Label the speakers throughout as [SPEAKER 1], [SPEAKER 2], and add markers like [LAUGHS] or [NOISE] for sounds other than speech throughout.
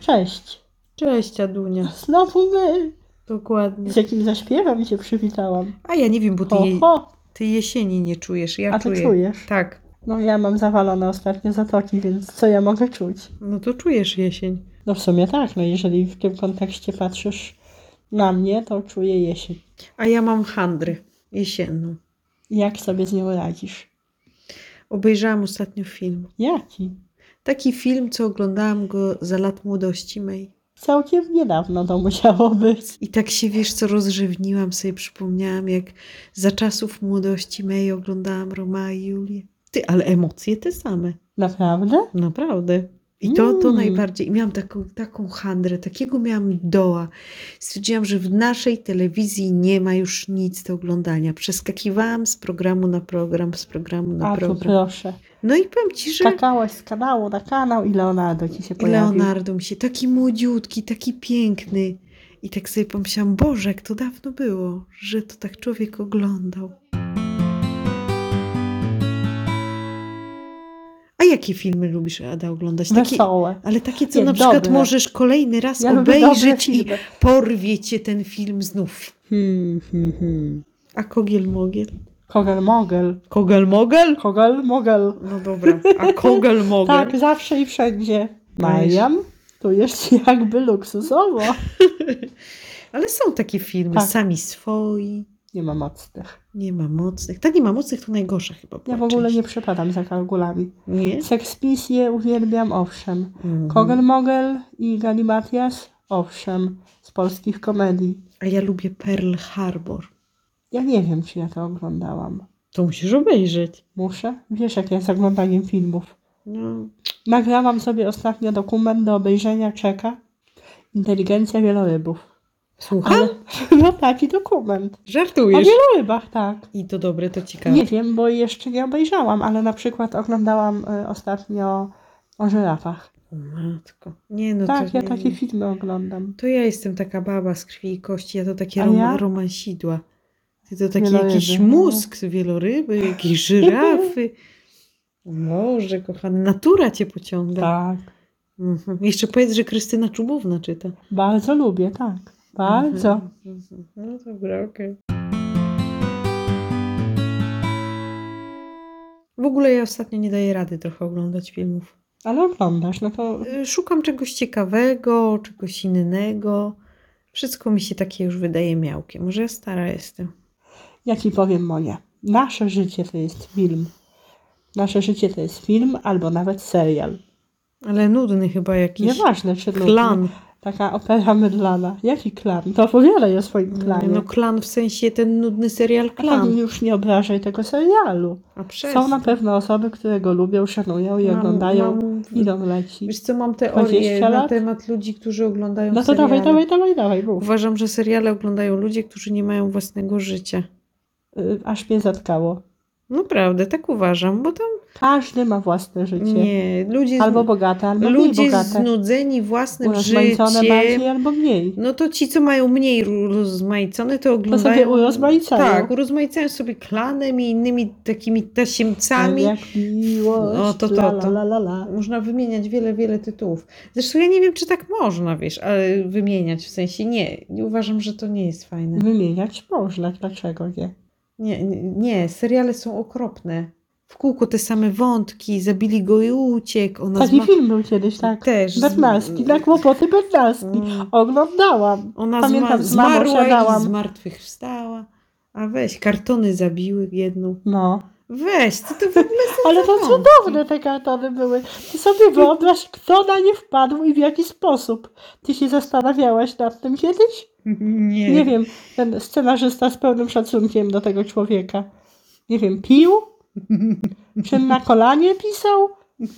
[SPEAKER 1] Cześć.
[SPEAKER 2] Cześć, Adunia.
[SPEAKER 1] Znowu my.
[SPEAKER 2] Dokładnie.
[SPEAKER 1] Z jakim zaśpiewem cię przywitałam.
[SPEAKER 2] A ja nie wiem, bo ty,
[SPEAKER 1] Ho,
[SPEAKER 2] je,
[SPEAKER 1] ho.
[SPEAKER 2] ty jesieni nie czujesz. Ja
[SPEAKER 1] A ty
[SPEAKER 2] czuję.
[SPEAKER 1] czujesz?
[SPEAKER 2] Tak.
[SPEAKER 1] No ja mam zawalone ostatnie zatoki, więc co ja mogę czuć?
[SPEAKER 2] No to czujesz jesień.
[SPEAKER 1] No w sumie tak, no jeżeli w tym kontekście patrzysz na mnie, to czuję jesień.
[SPEAKER 2] A ja mam handrę jesienną.
[SPEAKER 1] Jak sobie z nią radzisz?
[SPEAKER 2] Obejrzałam ostatnio film.
[SPEAKER 1] Jaki?
[SPEAKER 2] Taki film, co oglądałam go za lat młodości mej.
[SPEAKER 1] Całkiem niedawno to musiało być.
[SPEAKER 2] I tak się, wiesz co, rozrzewniłam sobie, przypomniałam, jak za czasów młodości mej oglądałam Roma i Julię. Ty, ale emocje te same.
[SPEAKER 1] Naprawdę?
[SPEAKER 2] Naprawdę. I to, to
[SPEAKER 1] Mm.
[SPEAKER 2] najbardziej. I miałam taką, taką handrę, takiego miałam doła. Stwierdziłam, że w naszej telewizji nie ma już nic do oglądania. Przeskakiwałam z programu na program, z programu na
[SPEAKER 1] A tu
[SPEAKER 2] program.
[SPEAKER 1] proszę.
[SPEAKER 2] No i powiem Ci, że
[SPEAKER 1] Skakałaś z kanału na kanał i Leonardo ci się
[SPEAKER 2] i
[SPEAKER 1] pojawił.
[SPEAKER 2] Leonardo mi się taki młodziutki, taki piękny. I tak sobie pomyślałam, Boże, jak to dawno było, że to tak człowiek oglądał. A jakie filmy lubisz, Ada, oglądać? Takie,
[SPEAKER 1] Wesołe.
[SPEAKER 2] ale takie, co
[SPEAKER 1] Nie,
[SPEAKER 2] na przykład
[SPEAKER 1] dobre.
[SPEAKER 2] możesz kolejny raz
[SPEAKER 1] Ja lubię dobre
[SPEAKER 2] obejrzeć i
[SPEAKER 1] filmy.
[SPEAKER 2] porwie cię ten film znów.
[SPEAKER 1] Hmm, hmm, hmm.
[SPEAKER 2] A kogiel mogiel?
[SPEAKER 1] Kogel mogel.
[SPEAKER 2] Kogel mogel?
[SPEAKER 1] Kogel mogel.
[SPEAKER 2] No dobra,
[SPEAKER 1] [LAUGHS]
[SPEAKER 2] a kogel mogel?
[SPEAKER 1] Tak, zawsze i wszędzie.
[SPEAKER 2] Mariam,
[SPEAKER 1] Mariam, tu jest [LAUGHS] jakby luksusowo.
[SPEAKER 2] Ale są takie filmy,
[SPEAKER 1] Tak.
[SPEAKER 2] sami swoi,
[SPEAKER 1] Nie ma mocnych.
[SPEAKER 2] nie ma mocnych. Tak, nie ma mocnych, to najgorsza chyba
[SPEAKER 1] Ja
[SPEAKER 2] była
[SPEAKER 1] w ogóle
[SPEAKER 2] część.
[SPEAKER 1] nie przepadam za kalkulami.
[SPEAKER 2] Nie?
[SPEAKER 1] Sekspicję uwielbiam, owszem.
[SPEAKER 2] Mhm.
[SPEAKER 1] Kogel Mogel i Galimatias, owszem. Z polskich komedii.
[SPEAKER 2] A ja lubię Pearl Harbor.
[SPEAKER 1] Ja nie wiem, czy ja to oglądałam.
[SPEAKER 2] To musisz obejrzeć.
[SPEAKER 1] Muszę? Wiesz, jak ja z oglądaniem filmów.
[SPEAKER 2] No,
[SPEAKER 1] Nagrałam sobie ostatnio dokument do obejrzenia Czeka. Inteligencja wielorybów.
[SPEAKER 2] słucham?
[SPEAKER 1] Ale [LAUGHS] no taki dokument. O
[SPEAKER 2] Żartujesz.
[SPEAKER 1] wielorybach, tak.
[SPEAKER 2] I to dobre, to ciekawe.
[SPEAKER 1] Nie wiem, bo jeszcze nie obejrzałam, ale na przykład oglądałam y, ostatnio o żyrafach.
[SPEAKER 2] O matko. Nie, no
[SPEAKER 1] tak,
[SPEAKER 2] to
[SPEAKER 1] ja
[SPEAKER 2] nie.
[SPEAKER 1] takie filmy oglądam.
[SPEAKER 2] To ja jestem taka baba z krwi i kości, ja to takie
[SPEAKER 1] A
[SPEAKER 2] rom-
[SPEAKER 1] ja?
[SPEAKER 2] romansidła. Ty to taki
[SPEAKER 1] Wieloryby,
[SPEAKER 2] jakiś
[SPEAKER 1] no.
[SPEAKER 2] mózg, wieloryby,
[SPEAKER 1] [LAUGHS]
[SPEAKER 2] jakieś żyrafy. Boże, kochany, natura cię pociąga.
[SPEAKER 1] Tak.
[SPEAKER 2] Mhm. Jeszcze powiedz, że Krystyna Czubówna czyta.
[SPEAKER 1] Bardzo lubię, tak. Bardzo.
[SPEAKER 2] Mhm. No dobra, okej. W ogóle ja ostatnio nie daję rady trochę oglądać filmów.
[SPEAKER 1] Ale oglądasz, no to
[SPEAKER 2] Y, Szukam czegoś ciekawego, czegoś innego. Wszystko mi się takie już wydaje miałkie. Może ja stara jestem.
[SPEAKER 1] ja ci powiem, Monia. Nasze życie to jest film. Nasze życie to jest film albo nawet serial.
[SPEAKER 2] Ale nudny chyba jakiś.
[SPEAKER 1] Nieważne, czy nudny.
[SPEAKER 2] Klan.
[SPEAKER 1] Taka opera mydlana. Jaki klan? To opowiadaj o swoim klanie.
[SPEAKER 2] No klan w sensie ten nudny serial
[SPEAKER 1] A tam
[SPEAKER 2] klan.
[SPEAKER 1] już nie obrażaj tego serialu.
[SPEAKER 2] A
[SPEAKER 1] Są na pewno osoby, które go lubią, szanują i oglądają.
[SPEAKER 2] Mam,
[SPEAKER 1] Idą leci.
[SPEAKER 2] wiesz co, mam teorię
[SPEAKER 1] 20
[SPEAKER 2] na
[SPEAKER 1] lat?
[SPEAKER 2] temat ludzi, którzy oglądają
[SPEAKER 1] No to
[SPEAKER 2] seriale.
[SPEAKER 1] dawaj, dawaj, dawaj, dawaj, mów.
[SPEAKER 2] Uważam, że seriale oglądają ludzie, którzy nie mają własnego życia.
[SPEAKER 1] Y, Aż mnie zatkało.
[SPEAKER 2] Naprawdę, tak uważam, bo tam
[SPEAKER 1] Każdy ma własne życie.
[SPEAKER 2] nie, ludzie, z-
[SPEAKER 1] Albo bogate, albo mniej
[SPEAKER 2] ludzie
[SPEAKER 1] bogate.
[SPEAKER 2] znudzeni własnym
[SPEAKER 1] Urozmaicone
[SPEAKER 2] życiem,
[SPEAKER 1] bardziej albo mniej.
[SPEAKER 2] No to ci, co mają mniej rozmaicone, to oglądają...
[SPEAKER 1] sobie urozmaicają.
[SPEAKER 2] Tak, urozmaicają sobie klanem i innymi takimi tasiemcami.
[SPEAKER 1] Jak miłość,
[SPEAKER 2] No to to,
[SPEAKER 1] la, la,
[SPEAKER 2] to.
[SPEAKER 1] la, la, la.
[SPEAKER 2] Można wymieniać wiele, wiele tytułów. Zresztą ja nie wiem, czy tak można, wiesz, ale wymieniać w sensie nie. nie Uważam, że to nie jest fajne.
[SPEAKER 1] Wymieniać można, dlaczego nie?
[SPEAKER 2] Nie, nie, nie, seriale są okropne. W kółko te same wątki, zabili go i uciekł. Ona
[SPEAKER 1] Taki
[SPEAKER 2] No, zma-
[SPEAKER 1] film był kiedyś, tak.
[SPEAKER 2] Też. z-
[SPEAKER 1] Bernalski, na kłopoty Bernalski.
[SPEAKER 2] Mm.
[SPEAKER 1] Oglądałam. Pamiętam,
[SPEAKER 2] Ona Pamiętam,
[SPEAKER 1] z mamą
[SPEAKER 2] zmarła
[SPEAKER 1] siadałam.
[SPEAKER 2] i z martwych wstała. A weź, kartony zabiły jedną.
[SPEAKER 1] No.
[SPEAKER 2] Weź, co to w ogóle są
[SPEAKER 1] Ale
[SPEAKER 2] za
[SPEAKER 1] to
[SPEAKER 2] wątki?
[SPEAKER 1] cudowne te kartony były. Ty sobie wyobraź, kto na nie wpadł i w jaki sposób. Ty się zastanawiałaś nad tym kiedyś?
[SPEAKER 2] Nie.
[SPEAKER 1] Nie wiem, ten scenarzysta z pełnym szacunkiem do tego człowieka. Nie wiem, pił? Czy na kolanie pisał?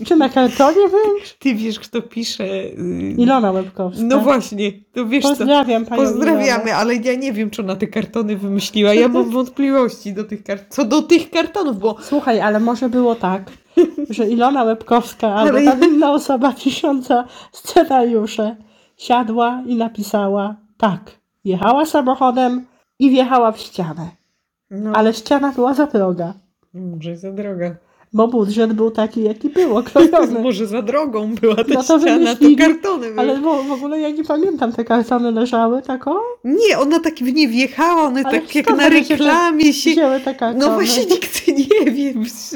[SPEAKER 1] Czy na kartonie wręcz?
[SPEAKER 2] Ty wiesz, kto pisze. y,
[SPEAKER 1] Ilona Łebkowska.
[SPEAKER 2] No właśnie, to wiesz co.
[SPEAKER 1] Pozdrawiam panią
[SPEAKER 2] Pozdrawiamy,
[SPEAKER 1] Ilonę.
[SPEAKER 2] ale ja nie wiem, czy ona te kartony wymyśliła. Ja mam wątpliwości do tych kart- co do tych kartonów, bo
[SPEAKER 1] Słuchaj, ale może było tak, że Ilona Łebkowska albo
[SPEAKER 2] Ale-
[SPEAKER 1] ta inna osoba pisząca scenariusze siadła i napisała tak. Jechała samochodem i wjechała w ścianę,
[SPEAKER 2] no,
[SPEAKER 1] ale ściana była za droga.
[SPEAKER 2] Może za droga.
[SPEAKER 1] bo budżet był taki, jaki był, [LAUGHS] okrojony.
[SPEAKER 2] Może za drogą była ta
[SPEAKER 1] No to
[SPEAKER 2] ściana, to
[SPEAKER 1] wymyślili,
[SPEAKER 2] kartony były.
[SPEAKER 1] Ale w, w ogóle ja nie pamiętam, te kartony leżały tak o,
[SPEAKER 2] Nie, ona tak w nie wjechała, one
[SPEAKER 1] Ale
[SPEAKER 2] tak jak
[SPEAKER 1] skąd
[SPEAKER 2] na
[SPEAKER 1] one się
[SPEAKER 2] reklamie się...
[SPEAKER 1] wzięły te kartony.
[SPEAKER 2] No właśnie [LAUGHS] nikt nie wie,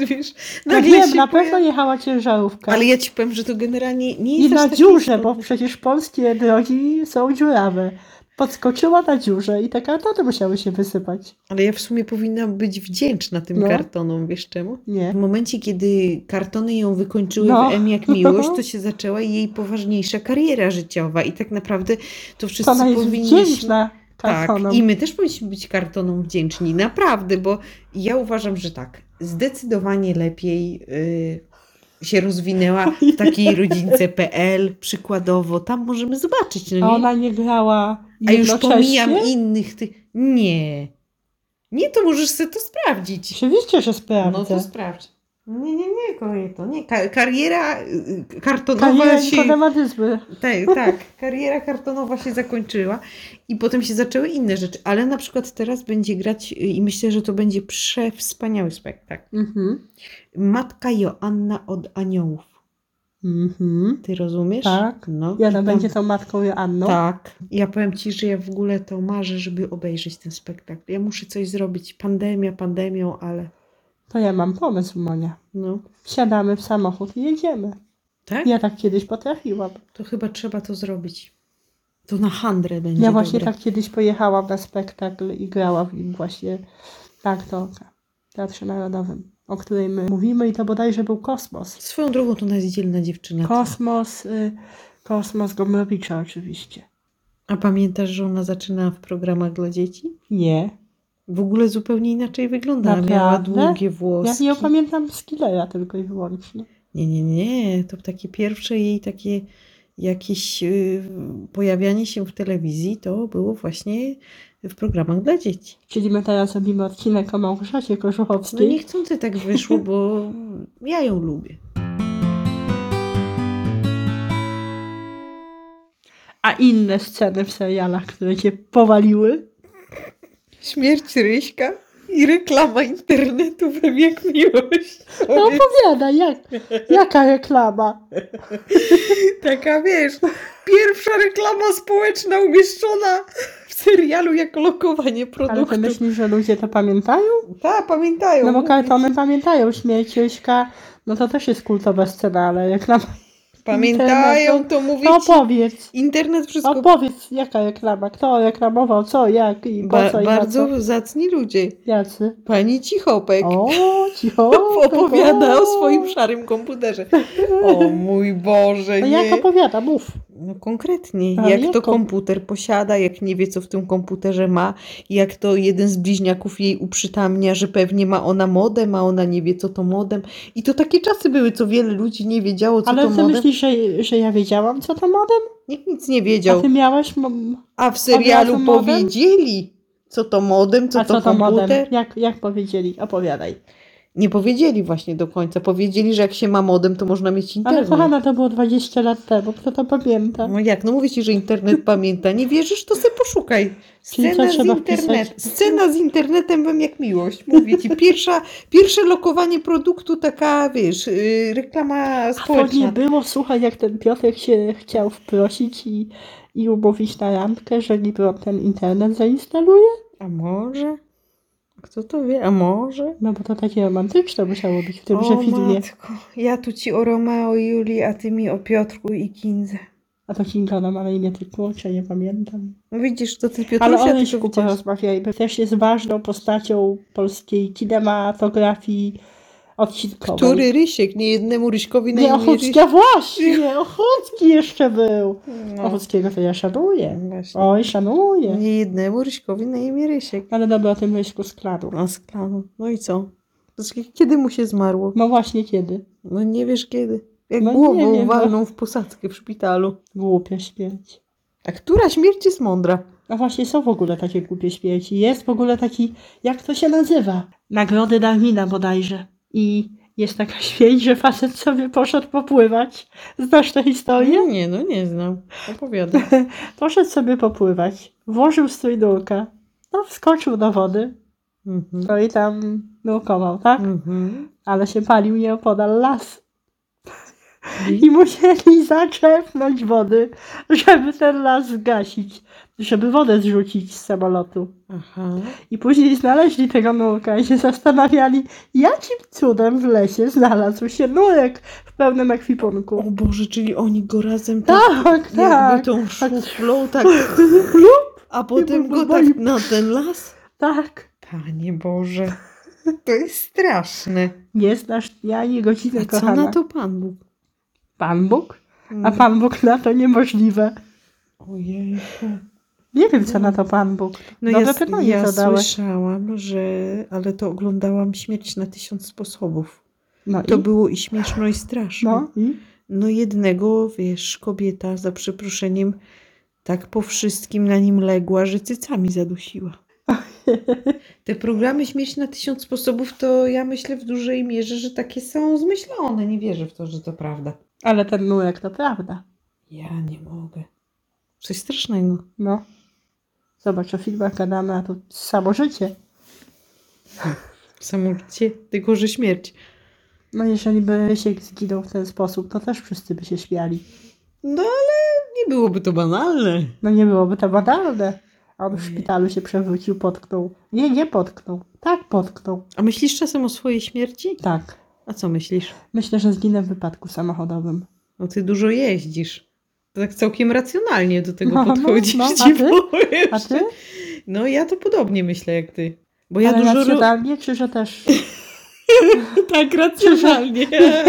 [SPEAKER 2] wiesz.
[SPEAKER 1] No
[SPEAKER 2] nagle
[SPEAKER 1] wiem,
[SPEAKER 2] się
[SPEAKER 1] na pewno
[SPEAKER 2] pojawi-
[SPEAKER 1] jechała ciężarówka.
[SPEAKER 2] Ale ja ci powiem, że to generalnie nie
[SPEAKER 1] I
[SPEAKER 2] jest aż
[SPEAKER 1] na
[SPEAKER 2] takie
[SPEAKER 1] dziurze,
[SPEAKER 2] istotne.
[SPEAKER 1] bo przecież polskie drogi są dziurawe. Podskoczyła na dziurze i te kartony musiały się wysypać.
[SPEAKER 2] Ale ja w sumie powinnam być wdzięczna tym
[SPEAKER 1] No.
[SPEAKER 2] kartonom, wiesz czemu?
[SPEAKER 1] Nie.
[SPEAKER 2] W momencie, kiedy kartony ją wykończyły
[SPEAKER 1] No.
[SPEAKER 2] w M jak miłość,
[SPEAKER 1] [LAUGHS]
[SPEAKER 2] to się zaczęła jej poważniejsza kariera życiowa. I tak naprawdę to
[SPEAKER 1] To
[SPEAKER 2] wszyscy
[SPEAKER 1] ona jest
[SPEAKER 2] powinniśmy...
[SPEAKER 1] wdzięczna
[SPEAKER 2] Tak,
[SPEAKER 1] kartonom.
[SPEAKER 2] i my też powinniśmy być kartonom wdzięczni, naprawdę, bo ja uważam, że tak, zdecydowanie lepiej y, się rozwinęła w
[SPEAKER 1] [LAUGHS]
[SPEAKER 2] takiej rodzince.pl przykładowo, tam możemy zobaczyć, no nie?
[SPEAKER 1] A ona nie grała
[SPEAKER 2] A już
[SPEAKER 1] jednocześnie.
[SPEAKER 2] pomijam innych tych, nie, nie, to możesz sobie to sprawdzić.
[SPEAKER 1] Oczywiście, że sprawdzę.
[SPEAKER 2] No to sprawdź. Nie, nie, nie, kobieto, nie, ka- kariera y, kartonowa
[SPEAKER 1] Kariera
[SPEAKER 2] się...
[SPEAKER 1] nikodematyzmy.
[SPEAKER 2] [LAUGHS] Tak, tak, kariera kartonowa się zakończyła i potem się zaczęły inne rzeczy, ale na przykład teraz będzie grać y, i myślę, że to będzie przewspaniały spektakl.
[SPEAKER 1] Mhm.
[SPEAKER 2] Matka Joanna od Aniołów.
[SPEAKER 1] Mhm.
[SPEAKER 2] Ty rozumiesz?
[SPEAKER 1] Tak.
[SPEAKER 2] No, i
[SPEAKER 1] Jana
[SPEAKER 2] tam-
[SPEAKER 1] będzie tą matką Joanną.
[SPEAKER 2] Tak. Ja powiem ci, że ja w ogóle to marzę, żeby obejrzeć ten spektakl. Ja muszę coś zrobić. Pandemia, pandemią, ale
[SPEAKER 1] To ja mam pomysł, Monia.
[SPEAKER 2] no.
[SPEAKER 1] Wsiadamy w samochód i jedziemy.
[SPEAKER 2] Tak?
[SPEAKER 1] Ja tak kiedyś potrafiłam.
[SPEAKER 2] To chyba trzeba to zrobić. To na handrę będzie.
[SPEAKER 1] Ja właśnie
[SPEAKER 2] dobre.
[SPEAKER 1] tak kiedyś pojechałam na spektakl i grała w nim właśnie ta aktorka w Teatrze Narodowym, o której my mówimy i to bodajże był Kosmos.
[SPEAKER 2] Swoją drogą to ona jest dzielna dziewczyna.
[SPEAKER 1] Kosmos, y, Kosmos Gombrowicza oczywiście.
[SPEAKER 2] A pamiętasz, że ona zaczyna w programach dla dzieci?
[SPEAKER 1] Nie,
[SPEAKER 2] W ogóle zupełnie inaczej wygląda. Miała
[SPEAKER 1] Naprawdę?
[SPEAKER 2] długie
[SPEAKER 1] ja
[SPEAKER 2] włosy.
[SPEAKER 1] ją pamiętam z Killera tylko i wyłącznie.
[SPEAKER 2] nie, nie, nie. To takie pierwsze jej takie jakieś y, pojawianie się w telewizji to było właśnie w programach dla dzieci.
[SPEAKER 1] Czyli my teraz robimy odcinek o Małgorzacie
[SPEAKER 2] No
[SPEAKER 1] Kożuchowskiej.
[SPEAKER 2] niechcący tak wyszło, bo ja ją lubię.
[SPEAKER 1] A inne sceny w serialach, które cię
[SPEAKER 2] [LAUGHS]
[SPEAKER 1] powaliły?
[SPEAKER 2] Śmierć Ryśka i reklama internetu we wiek miłość.
[SPEAKER 1] No opowiadaj, jak, jaka reklama?
[SPEAKER 2] Taka wiesz, pierwsza reklama społeczna umieszczona w serialu jako lokowanie
[SPEAKER 1] Ale ty
[SPEAKER 2] produktu.
[SPEAKER 1] myślisz, że ludzie to pamiętają?
[SPEAKER 2] Tak, pamiętają.
[SPEAKER 1] No bo
[SPEAKER 2] mówię ci.
[SPEAKER 1] kartony pamiętają, śmierć Ryśka, no to też jest kultowa scena, ale reklama.
[SPEAKER 2] Pamiętają,
[SPEAKER 1] no
[SPEAKER 2] to mówię ci.
[SPEAKER 1] Opowiedz,
[SPEAKER 2] Internet
[SPEAKER 1] No
[SPEAKER 2] wszystko
[SPEAKER 1] opowiedz jaka reklama, kto reklamował, co, jak i po
[SPEAKER 2] ba-
[SPEAKER 1] co i na co.
[SPEAKER 2] bardzo zacni ludzie.
[SPEAKER 1] Jacy.
[SPEAKER 2] Pani Cichopek
[SPEAKER 1] O, cicho.
[SPEAKER 2] [LAUGHS] opowiada
[SPEAKER 1] o.
[SPEAKER 2] o swoim
[SPEAKER 1] [LAUGHS]
[SPEAKER 2] szarym komputerze. O mój Boże,
[SPEAKER 1] No
[SPEAKER 2] nie.
[SPEAKER 1] jak opowiada, mów.
[SPEAKER 2] No konkretnie,
[SPEAKER 1] Ale
[SPEAKER 2] jak
[SPEAKER 1] jak
[SPEAKER 2] to
[SPEAKER 1] kom-
[SPEAKER 2] komputer posiada, jak nie wie, co w tym komputerze ma, jak to jeden z bliźniaków jej uprzytamnia, że pewnie ma ona modem, a ona nie wie, co to modem. I to takie czasy były, co wiele ludzi nie wiedziało, co
[SPEAKER 1] Ale
[SPEAKER 2] to
[SPEAKER 1] ty
[SPEAKER 2] modem.
[SPEAKER 1] myślisz, że, że ja wiedziałam, co to modem?
[SPEAKER 2] Nikt nic nie
[SPEAKER 1] A
[SPEAKER 2] wiedział.
[SPEAKER 1] ty miałaś... m-
[SPEAKER 2] A w serialu
[SPEAKER 1] razu modem?
[SPEAKER 2] powiedzieli, co to modem, co
[SPEAKER 1] A
[SPEAKER 2] to
[SPEAKER 1] co to
[SPEAKER 2] komputer.
[SPEAKER 1] modem? Jak, jak powiedzieli? Opowiadaj.
[SPEAKER 2] Nie powiedzieli właśnie do końca. Powiedzieli, że jak się ma modem, to można mieć internet.
[SPEAKER 1] Ale kochana, to było 20 lat temu, kto to pamięta?
[SPEAKER 2] No jak? No mówię ci, że internet pamięta. Nie wierzysz, to sobie poszukaj.
[SPEAKER 1] Czyli co
[SPEAKER 2] Scena z,
[SPEAKER 1] trzeba
[SPEAKER 2] internet,
[SPEAKER 1] wpisać?
[SPEAKER 2] scena z internetem wiem jak miłość. Mówię ci, pierwsza, pierwsze lokowanie produktu, taka wiesz, yy, reklama
[SPEAKER 1] A to nie
[SPEAKER 2] społeczna.
[SPEAKER 1] było, słuchaj, jak ten Piotrek się chciał wprosić i, i umówić na randkę, że niby on ten internet zainstaluje?
[SPEAKER 2] A może? Kto to wie? A może?
[SPEAKER 1] No bo to takie romantyczne musiało być w tym,
[SPEAKER 2] O
[SPEAKER 1] że filmie.
[SPEAKER 2] matko, ja tu ci o Romeo i Julii, a ty mi o Piotrku i Kindze.
[SPEAKER 1] A to Kinga ona ma na imię ty kurczę, nie pamiętam.
[SPEAKER 2] No Widzisz, to ty
[SPEAKER 1] Ale
[SPEAKER 2] Piotrusia
[SPEAKER 1] o
[SPEAKER 2] tylko
[SPEAKER 1] Ryśku
[SPEAKER 2] widziałaś.
[SPEAKER 1] porozmawiajmy. Też jest ważną postacią polskiej kinematografii odcinkowej.
[SPEAKER 2] Który Rysiek? Nie jednemu Ryśkowi na
[SPEAKER 1] Nie,
[SPEAKER 2] imię Ryś...
[SPEAKER 1] Ochocki, a właśnie! Ochocki jeszcze był!
[SPEAKER 2] No.
[SPEAKER 1] Ochockiego to ja szanuję.
[SPEAKER 2] Właśnie.
[SPEAKER 1] Oj, szanuję.
[SPEAKER 2] Nie jednemu Ryśkowi na imię Rysiek.
[SPEAKER 1] Ale dobra, o tym Ryśku z klanu.
[SPEAKER 2] A z klanu. No i co? znaczy, Kiedy mu się zmarło?
[SPEAKER 1] No właśnie kiedy?
[SPEAKER 2] No nie wiesz kiedy. Jak
[SPEAKER 1] No nie
[SPEAKER 2] głową
[SPEAKER 1] wiem, no.
[SPEAKER 2] walną w posadzkę w szpitalu.
[SPEAKER 1] Głupia śmierć.
[SPEAKER 2] A która śmierć jest mądra?
[SPEAKER 1] A właśnie są w ogóle takie głupie śmierci. Jest w ogóle taki, jak to się nazywa? Nagrody Darwina bodajże. I jest taka [LAUGHS] śmierć, że facet sobie poszedł popływać. Znasz tę historię?
[SPEAKER 2] nie, no nie znam.
[SPEAKER 1] [LAUGHS]
[SPEAKER 2] Opowiadam.
[SPEAKER 1] Poszedł sobie popływać. Włożył strój do oka. No, wskoczył do wody.
[SPEAKER 2] Mhm.
[SPEAKER 1] No i tam nurkował, tak?
[SPEAKER 2] Mhm.
[SPEAKER 1] Ale się palił nieopodal las. I musieli [LAUGHS] zaczerpnąć wody, żeby ten las zgasić, żeby wodę zrzucić z samolotu.
[SPEAKER 2] Aha.
[SPEAKER 1] I później znaleźli tego nurka i się zastanawiali, jakim cudem w lesie znalazł się nurek w pełnym
[SPEAKER 2] O
[SPEAKER 1] ekwipunku.
[SPEAKER 2] Boże, czyli oni go razem tak,
[SPEAKER 1] Tak,
[SPEAKER 2] jakby
[SPEAKER 1] tak,
[SPEAKER 2] tą szuflą tak, a potem go tak na ten las.
[SPEAKER 1] tak.
[SPEAKER 2] Panie Boże, to jest straszne.
[SPEAKER 1] Nie znasz dnia ani godziny,
[SPEAKER 2] A co
[SPEAKER 1] kochana.
[SPEAKER 2] na to Pan Bóg?
[SPEAKER 1] Pan Bóg? A Pan Bóg na to niemożliwe.
[SPEAKER 2] Ojejku.
[SPEAKER 1] Nie wiem, co na to Pan Bóg.
[SPEAKER 2] No
[SPEAKER 1] Dobre
[SPEAKER 2] ja, s-
[SPEAKER 1] pytanie
[SPEAKER 2] ja
[SPEAKER 1] zadałeś.
[SPEAKER 2] słyszałam, że, ale to oglądałam Śmierć na tysiąc sposobów.
[SPEAKER 1] No
[SPEAKER 2] To
[SPEAKER 1] i?
[SPEAKER 2] było i śmieszne i straszne.
[SPEAKER 1] No i?
[SPEAKER 2] No jednego, wiesz, kobieta za przeproszeniem tak po wszystkim na nim legła, że cycami zadusiła. [LAUGHS] Te programy Śmierć na tysiąc sposobów to ja myślę w dużej mierze, że takie są zmyślone. Nie wierzę w to, że to prawda.
[SPEAKER 1] Ale ten nurek to prawda.
[SPEAKER 2] Ja nie mogę. Coś strasznego.
[SPEAKER 1] No. Zobacz, o filmach gadamy, a to samo życie.
[SPEAKER 2] Samolcie, tylko że śmierć.
[SPEAKER 1] No jeżeli by Rysiek zginął w ten sposób, to też wszyscy by się śmiali.
[SPEAKER 2] No ale nie byłoby to banalne.
[SPEAKER 1] No nie byłoby to banalne. A on w
[SPEAKER 2] Nie.
[SPEAKER 1] szpitalu się przewrócił, potknął. Nie, nie potknął. Tak, potknął.
[SPEAKER 2] A myślisz czasem o swojej śmierci?
[SPEAKER 1] Tak.
[SPEAKER 2] A co myślisz?
[SPEAKER 1] Myślę, że zginę w wypadku samochodowym.
[SPEAKER 2] No ty dużo jeździsz. To tak całkiem racjonalnie do tego
[SPEAKER 1] No, no,
[SPEAKER 2] podchodzisz, [LAUGHS]
[SPEAKER 1] no, a
[SPEAKER 2] ci
[SPEAKER 1] ty?
[SPEAKER 2] powiem,
[SPEAKER 1] A
[SPEAKER 2] że-
[SPEAKER 1] ty?
[SPEAKER 2] No ja to podobnie myślę jak ty. Bo ja
[SPEAKER 1] Ale
[SPEAKER 2] dużo... Ro...
[SPEAKER 1] racjonalnie, czy że też...
[SPEAKER 2] [LAUGHS] Tak, racjonalnie.
[SPEAKER 1] [LAUGHS]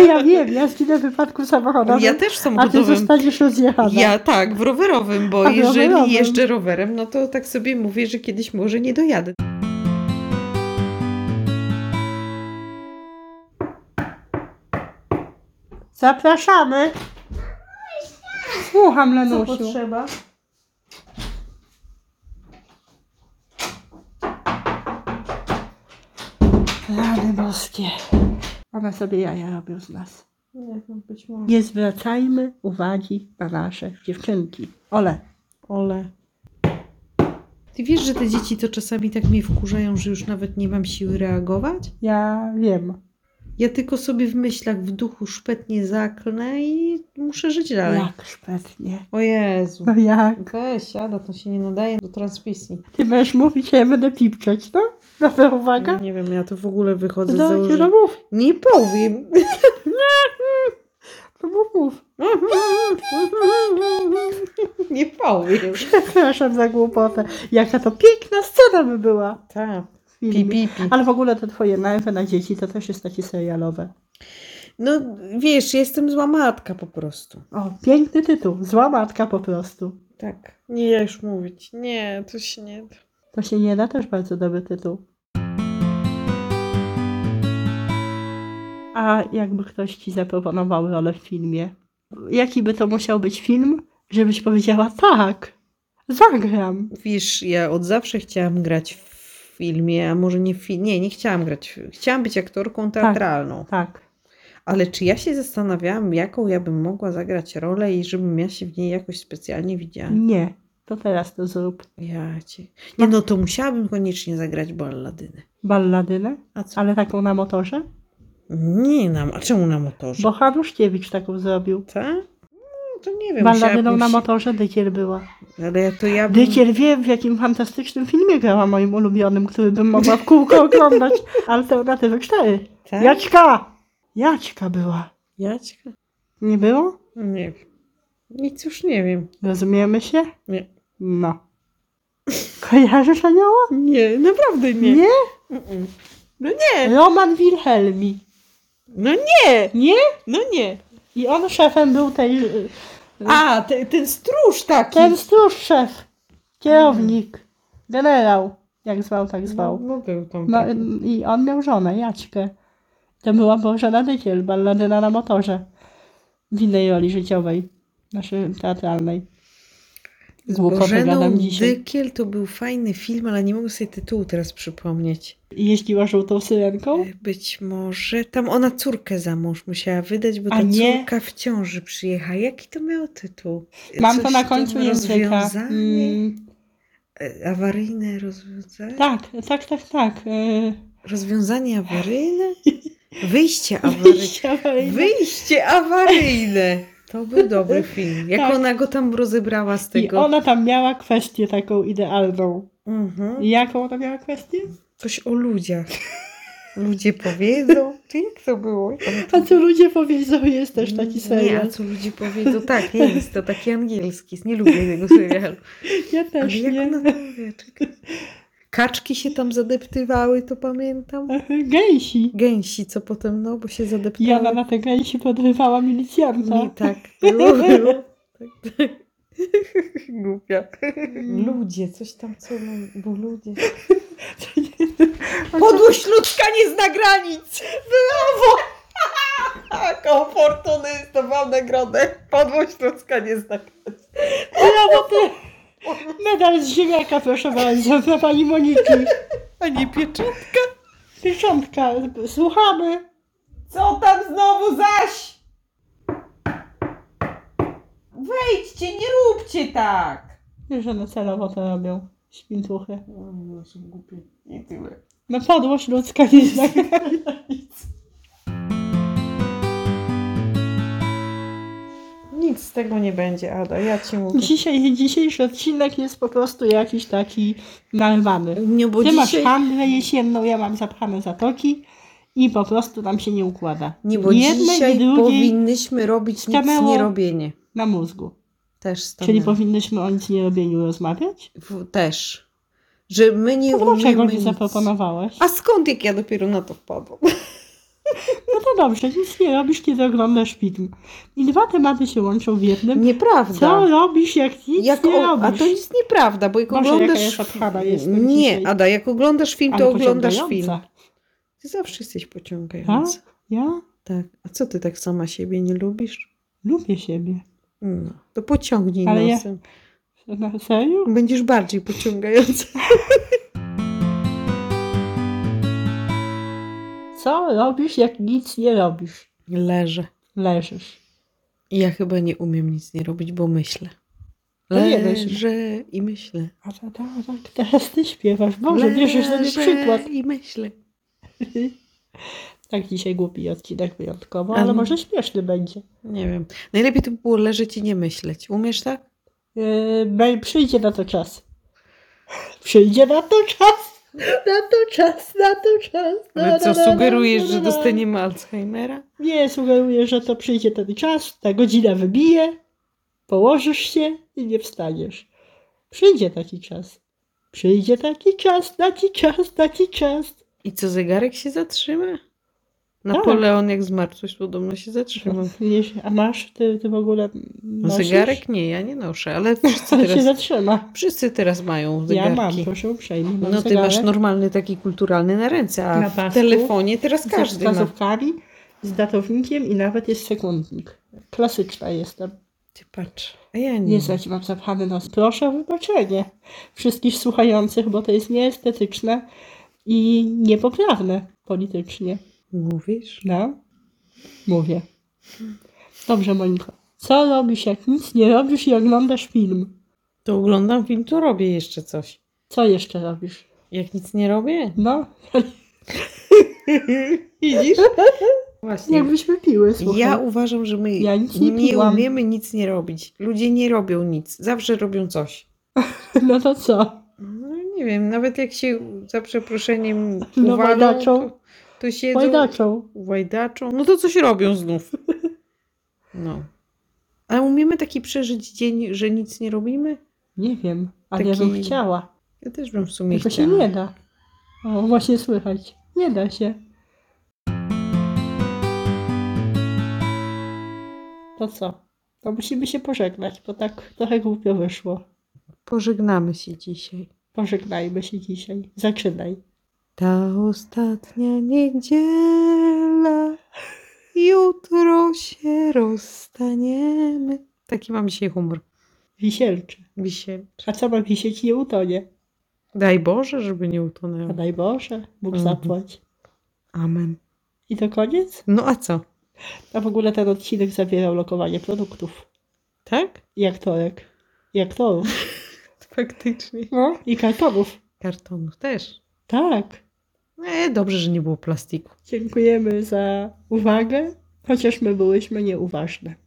[SPEAKER 1] ja wiem, ja zginę w wypadku samochodowym,
[SPEAKER 2] Ja też
[SPEAKER 1] a ty
[SPEAKER 2] samochodowym.
[SPEAKER 1] zostaniesz rozjechana.
[SPEAKER 2] Ja tak, w rowerowym, bo
[SPEAKER 1] A, w
[SPEAKER 2] jeżeli
[SPEAKER 1] rowerowym.
[SPEAKER 2] jeżdżę rowerem, no to tak sobie mówię, że kiedyś może nie dojadę.
[SPEAKER 1] Zapraszamy. Słucham, Lenusiu.
[SPEAKER 2] potrzeba?
[SPEAKER 1] Rany boskie. One sobie jaja robią z nas.
[SPEAKER 2] Nie wiem, być może.
[SPEAKER 1] Nie zwracajmy uwagi na nasze dziewczynki. Ole.
[SPEAKER 2] Ole. Ty wiesz, że te dzieci to czasami tak mnie wkurzają, że już nawet nie mam siły reagować?
[SPEAKER 1] Ja wiem.
[SPEAKER 2] Ja tylko sobie w myślach, w duchu szpetnie zaklnę i muszę żyć dalej.
[SPEAKER 1] Jak szpetnie.
[SPEAKER 2] O Jezu.
[SPEAKER 1] No jak?
[SPEAKER 2] Weź, Ada, to się nie nadaje do transmisji.
[SPEAKER 1] Ty będziesz mówić, a ja będę pipczeć, no? Dobra uwaga.
[SPEAKER 2] Nie wiem, ja to w ogóle wychodzę z
[SPEAKER 1] No, się
[SPEAKER 2] założenia.
[SPEAKER 1] no mów.
[SPEAKER 2] Nie powiem. [LAUGHS]
[SPEAKER 1] No mów, mów. No,
[SPEAKER 2] nie powiem.
[SPEAKER 1] Przepraszam za głupotę. Jaka to piękna scena by była
[SPEAKER 2] Tak,
[SPEAKER 1] w
[SPEAKER 2] pi,
[SPEAKER 1] filmie.
[SPEAKER 2] pi, pi.
[SPEAKER 1] Ale w ogóle te twoje nerwy na dzieci to też jest takie serialowe.
[SPEAKER 2] No wiesz, ja jestem zła matka po prostu.
[SPEAKER 1] O, piękny tytuł. Zła matka po prostu.
[SPEAKER 2] Tak. Nie, ja już mówić. Nie, to się nie da.
[SPEAKER 1] To się nie da też bardzo dobry tytuł. A jakby ktoś ci zaproponował rolę w filmie? Jaki by to musiał być film, żebyś powiedziała tak, zagram.
[SPEAKER 2] Wiesz, ja od zawsze chciałam grać w filmie, a może nie w filmie. Nie, nie chciałam grać. w- Chciałam być aktorką teatralną.
[SPEAKER 1] Tak.
[SPEAKER 2] Ale czy ja się zastanawiałam, jaką ja bym mogła zagrać rolę i żebym ja się w niej jakoś specjalnie widziała?
[SPEAKER 1] Nie. To teraz to zrób.
[SPEAKER 2] Ja cię. Nie, no to musiałabym koniecznie zagrać balladynę.
[SPEAKER 1] Balladynę?
[SPEAKER 2] A co?
[SPEAKER 1] Ale taką na motorze?
[SPEAKER 2] Nie, na, a czemu na motorze?
[SPEAKER 1] Bo Hanuszkiewicz taką zrobił.
[SPEAKER 2] Ta? No, to nie wiem.
[SPEAKER 1] Balladyną
[SPEAKER 2] musiałabym
[SPEAKER 1] na
[SPEAKER 2] się- No,
[SPEAKER 1] motorze Dykiel była.
[SPEAKER 2] Ale ja to ja bym...
[SPEAKER 1] Dykiel wie, w jakim fantastycznym filmie grała moim ulubionym, który bym mogła w kółko
[SPEAKER 2] [LAUGHS]
[SPEAKER 1] oglądać. Alternatywy 4.
[SPEAKER 2] Tak?
[SPEAKER 1] Jaćka! Jaćka była.
[SPEAKER 2] Jaćka?
[SPEAKER 1] Nie było?
[SPEAKER 2] Nie wiem. Nic już nie wiem.
[SPEAKER 1] Rozumiemy się?
[SPEAKER 2] Nie.
[SPEAKER 1] No. Kojarzysz anioła?
[SPEAKER 2] Nie, naprawdę nie. Mm-mm. No nie,
[SPEAKER 1] Roman Wilhelmi.
[SPEAKER 2] no nie,
[SPEAKER 1] Nie?
[SPEAKER 2] no nie.
[SPEAKER 1] I on szefem był tej... y,
[SPEAKER 2] A, te, ten stróż taki. No,
[SPEAKER 1] Ten stróż szef. Kierownik. Generał. Jak zwał, tak
[SPEAKER 2] No,
[SPEAKER 1] zwał.
[SPEAKER 2] no był tam.
[SPEAKER 1] No
[SPEAKER 2] taki.
[SPEAKER 1] y, i on miał żonę, Jaćkę. To była Bożena Dykiel, balladyna na motorze. W innej roli życiowej. Naszej teatralnej.
[SPEAKER 2] Z
[SPEAKER 1] Głupoty
[SPEAKER 2] Bożeną
[SPEAKER 1] gadam dzisiaj.
[SPEAKER 2] Dykiel to był fajny film, ale nie mogę sobie tytułu teraz przypomnieć. E,
[SPEAKER 1] I Jeździła żółtą syrenką?
[SPEAKER 2] Być może tam ona córkę za mąż musiała wydać, bo
[SPEAKER 1] A
[SPEAKER 2] ta
[SPEAKER 1] nie.
[SPEAKER 2] córka w ciąży przyjechała. Jaki to miał tytuł?
[SPEAKER 1] Mam
[SPEAKER 2] Coś
[SPEAKER 1] to na
[SPEAKER 2] tam
[SPEAKER 1] końcu języka.
[SPEAKER 2] rozwiązanie?
[SPEAKER 1] Mm,
[SPEAKER 2] E, Awaryjne rozwiązanie?
[SPEAKER 1] Tak, tak, tak, tak. e,
[SPEAKER 2] Rozwiązanie [LAUGHS] awaryjne? Wyjście
[SPEAKER 1] [LAUGHS]
[SPEAKER 2] awaryjne.
[SPEAKER 1] wyjście awaryjne.
[SPEAKER 2] Wyjście awaryjne! To był dobry film. Jak
[SPEAKER 1] Tak.
[SPEAKER 2] ona go tam rozebrała z
[SPEAKER 1] I
[SPEAKER 2] tego.
[SPEAKER 1] ona tam miała kwestię taką idealną.
[SPEAKER 2] Mhm.
[SPEAKER 1] Jaką ona miała kwestię?
[SPEAKER 2] Coś o ludziach. Ludzie powiedzą. Czy jak to było?
[SPEAKER 1] A co ludzie powiedzą, jest też taki
[SPEAKER 2] Nie, a
[SPEAKER 1] serial.
[SPEAKER 2] co ludzie powiedzą? Tak, jest to taki angielski. Nie lubię tego serialu.
[SPEAKER 1] Ja
[SPEAKER 2] Ale
[SPEAKER 1] też
[SPEAKER 2] jak
[SPEAKER 1] nie.
[SPEAKER 2] ona tam wie? Czekaj. Kaczki się tam zadeptywały, to pamiętam.
[SPEAKER 1] E, Gęsi.
[SPEAKER 2] Gęsi, co potem, no, bo się zadeptywały.
[SPEAKER 1] Jana na te gęsi podrywała
[SPEAKER 2] Nie,
[SPEAKER 1] milicjanta.
[SPEAKER 2] tak. Było, było. Tak, tak. [LAUGHS] Głupia. Ludzie, coś tam co, lu- bo ludzie. [LAUGHS] Podłość ludzka nie zna granic! [LAUGHS] Brawo! Koło Fortuny zdobyłam nagrodę. Podłość ludzka nie zna granic.
[SPEAKER 1] Brawo ty! Medal z ziemniaka, proszę bardzo, dla pani Moniki.
[SPEAKER 2] [LAUGHS] A nie pieczątka.
[SPEAKER 1] Pieczątka, słuchamy.
[SPEAKER 2] Co tam znowu zaś? Wejdźcie, nie róbcie tak!
[SPEAKER 1] Wiesz, że na celowo to robią śpintuchy.
[SPEAKER 2] No, są głupie. I tyle.
[SPEAKER 1] No podłość ludzka
[SPEAKER 2] [LAUGHS]
[SPEAKER 1] nie zna
[SPEAKER 2] Nic z tego nie będzie, Ada, ja ci mówię.
[SPEAKER 1] Dzisiaj, dzisiejszy odcinek jest po prostu jakiś taki narwany.
[SPEAKER 2] Nie, bo
[SPEAKER 1] Ty masz
[SPEAKER 2] dzisiaj...
[SPEAKER 1] handlę jesienną, ja mam zapchane zatoki i po prostu nam się nie układa.
[SPEAKER 2] Nie, bo
[SPEAKER 1] Jednej i
[SPEAKER 2] dzisiaj
[SPEAKER 1] drugiej
[SPEAKER 2] powinnyśmy robić nic
[SPEAKER 1] stanęło-
[SPEAKER 2] nie robienie.
[SPEAKER 1] na mózgu.
[SPEAKER 2] Też stanęło.
[SPEAKER 1] Czyli powinnyśmy o nic nie robieniu rozmawiać?
[SPEAKER 2] W- Też. Że my nie
[SPEAKER 1] To dlaczego
[SPEAKER 2] umiemy
[SPEAKER 1] nie
[SPEAKER 2] nic.
[SPEAKER 1] zaproponowałeś?
[SPEAKER 2] A skąd, jak ja dopiero na to wpadłam?
[SPEAKER 1] No to dobrze, nic nie robisz, kiedy oglądasz film. I dwa tematy się łączą w jednym. No, Co
[SPEAKER 2] [LAUGHS] Nieprawda.
[SPEAKER 1] robisz, jak nic
[SPEAKER 2] Jak
[SPEAKER 1] nie
[SPEAKER 2] o... A
[SPEAKER 1] robisz?
[SPEAKER 2] to jest nieprawda, bo jak
[SPEAKER 1] Boże, jaka
[SPEAKER 2] oglądasz...
[SPEAKER 1] ja zatkana jestem
[SPEAKER 2] nie,
[SPEAKER 1] dzisiaj.
[SPEAKER 2] Ada, jak oglądasz film, to
[SPEAKER 1] Ale
[SPEAKER 2] oglądasz film.
[SPEAKER 1] pociągająca.
[SPEAKER 2] Ty zawsze jesteś pociągająca.
[SPEAKER 1] Ja
[SPEAKER 2] Tak. A co ty tak sama siebie nie lubisz?
[SPEAKER 1] lubię siebie.
[SPEAKER 2] No. To pociągnij
[SPEAKER 1] Ale ja-
[SPEAKER 2] nosem.
[SPEAKER 1] Na serio?
[SPEAKER 2] Będziesz bardziej pociągająca. [LAUGHS]
[SPEAKER 1] Co robisz, jak nic nie robisz?
[SPEAKER 2] Leżę.
[SPEAKER 1] Leżysz.
[SPEAKER 2] Ja chyba nie umiem nic nie robić, bo myślę.
[SPEAKER 1] To No nie myśl.
[SPEAKER 2] Leżę i myślę.
[SPEAKER 1] A ta, ta, tak teraz ty śpiewasz. Boże, bierzesz sobie
[SPEAKER 2] Leżę
[SPEAKER 1] przykład.
[SPEAKER 2] i myślę.
[SPEAKER 1] Tak dzisiaj głupi odcinek wyjątkowo,
[SPEAKER 2] A
[SPEAKER 1] ale
[SPEAKER 2] no.
[SPEAKER 1] może śmieszny będzie.
[SPEAKER 2] Nie wiem. Najlepiej to by było leżeć i nie myśleć. Umiesz tak?
[SPEAKER 1] Yy, be- przyjdzie na to czas. Przyjdzie na to czas. Na to czas, na to czas. Na, na, na, na, na, na, na.
[SPEAKER 2] Alzheimera?
[SPEAKER 1] Nie, sugeruję, że to przyjdzie ten czas, ta godzina wybije, położysz się i nie wstaniesz. Przyjdzie taki czas. Przyjdzie taki czas, taki czas, taki czas.
[SPEAKER 2] I co, zegarek się
[SPEAKER 1] Tak.
[SPEAKER 2] zatrzyma? Napoleon
[SPEAKER 1] Napoleon
[SPEAKER 2] jak zmartwychł podobno się zatrzymał.
[SPEAKER 1] Wiesz, A masz ty, ty w ogóle. No. nosisz?
[SPEAKER 2] Zegarek? Nie, ja nie noszę,
[SPEAKER 1] [LAUGHS]
[SPEAKER 2] ale wszyscy
[SPEAKER 1] Ale się
[SPEAKER 2] teraz,
[SPEAKER 1] zatrzyma.
[SPEAKER 2] wszyscy teraz mają
[SPEAKER 1] Ja mam,
[SPEAKER 2] zegarki.
[SPEAKER 1] proszę uprzejmie. Mam
[SPEAKER 2] No ty
[SPEAKER 1] zegarek
[SPEAKER 2] masz normalny taki kulturalny na ręce,
[SPEAKER 1] Na
[SPEAKER 2] a w
[SPEAKER 1] pasku.
[SPEAKER 2] telefonie teraz
[SPEAKER 1] z
[SPEAKER 2] każdy ma.
[SPEAKER 1] wskazówkami, z datownikiem i nawet jest sekundnik. Klasyczna jestem.
[SPEAKER 2] Ty patrz, a ja nie.
[SPEAKER 1] Nie znać mam zapchany nos. Proszę o wybaczenie wszystkich słuchających, bo to jest nieestetyczne i niepoprawne politycznie.
[SPEAKER 2] Mówisz?
[SPEAKER 1] No, mówię. Dobrze, Moniko. Co robisz, jak nic nie robisz i oglądasz film?
[SPEAKER 2] To oglądam film, to robię jeszcze coś.
[SPEAKER 1] Co jeszcze robisz?
[SPEAKER 2] Jak nic nie robię? [LAUGHS]
[SPEAKER 1] No,
[SPEAKER 2] Widzisz? Właśnie.
[SPEAKER 1] jakbyśmy piły, słuchaj.
[SPEAKER 2] Ja uważam, że my
[SPEAKER 1] Ja nic nie
[SPEAKER 2] nie
[SPEAKER 1] piłam.
[SPEAKER 2] umiemy nic nie robić. Ludzie nie robią nic. Zawsze robią coś.
[SPEAKER 1] No to co?
[SPEAKER 2] No nie wiem, nawet jak się za przeproszeniem
[SPEAKER 1] [LAUGHS] No,
[SPEAKER 2] uwalą,
[SPEAKER 1] łajdaczą.
[SPEAKER 2] to, to siedzą,
[SPEAKER 1] Pojdaczą.
[SPEAKER 2] łajdaczą. No to coś robią
[SPEAKER 1] [LAUGHS]
[SPEAKER 2] znów. No. A umiemy taki przeżyć dzień, że nic nie robimy?
[SPEAKER 1] Nie wiem, ale ja bym
[SPEAKER 2] Taki-
[SPEAKER 1] chciała.
[SPEAKER 2] Ja też bym w sumie
[SPEAKER 1] Tylko się
[SPEAKER 2] chciała.
[SPEAKER 1] nie da. O, właśnie słychać. Nie da się. To co? To musimy się pożegnać, bo tak trochę głupio wyszło.
[SPEAKER 2] Pożegnamy się dzisiaj.
[SPEAKER 1] Pożegnajmy się dzisiaj. Zaczynaj.
[SPEAKER 2] Ta ostatnia niedziela, jutro się rozstaniemy. Taki mam dzisiaj humor.
[SPEAKER 1] Wisielczy.
[SPEAKER 2] Wisiel.
[SPEAKER 1] A co ma wisieć nie utonie?
[SPEAKER 2] Daj Boże, żeby nie
[SPEAKER 1] A
[SPEAKER 2] utonęło.
[SPEAKER 1] daj Boże, Bóg
[SPEAKER 2] Mhm.
[SPEAKER 1] zapłać.
[SPEAKER 2] Amen.
[SPEAKER 1] I to koniec?
[SPEAKER 2] No a co?
[SPEAKER 1] A w ogóle ten odcinek zawierał lokowanie produktów.
[SPEAKER 2] Tak?
[SPEAKER 1] I aktorek. I aktorów.
[SPEAKER 2] Faktycznie.
[SPEAKER 1] No, i kartonów.
[SPEAKER 2] Kartonów też.
[SPEAKER 1] Tak.
[SPEAKER 2] E, dobrze, że nie było plastiku.
[SPEAKER 1] Dziękujemy za uwagę, chociaż my byłyśmy nieuważne.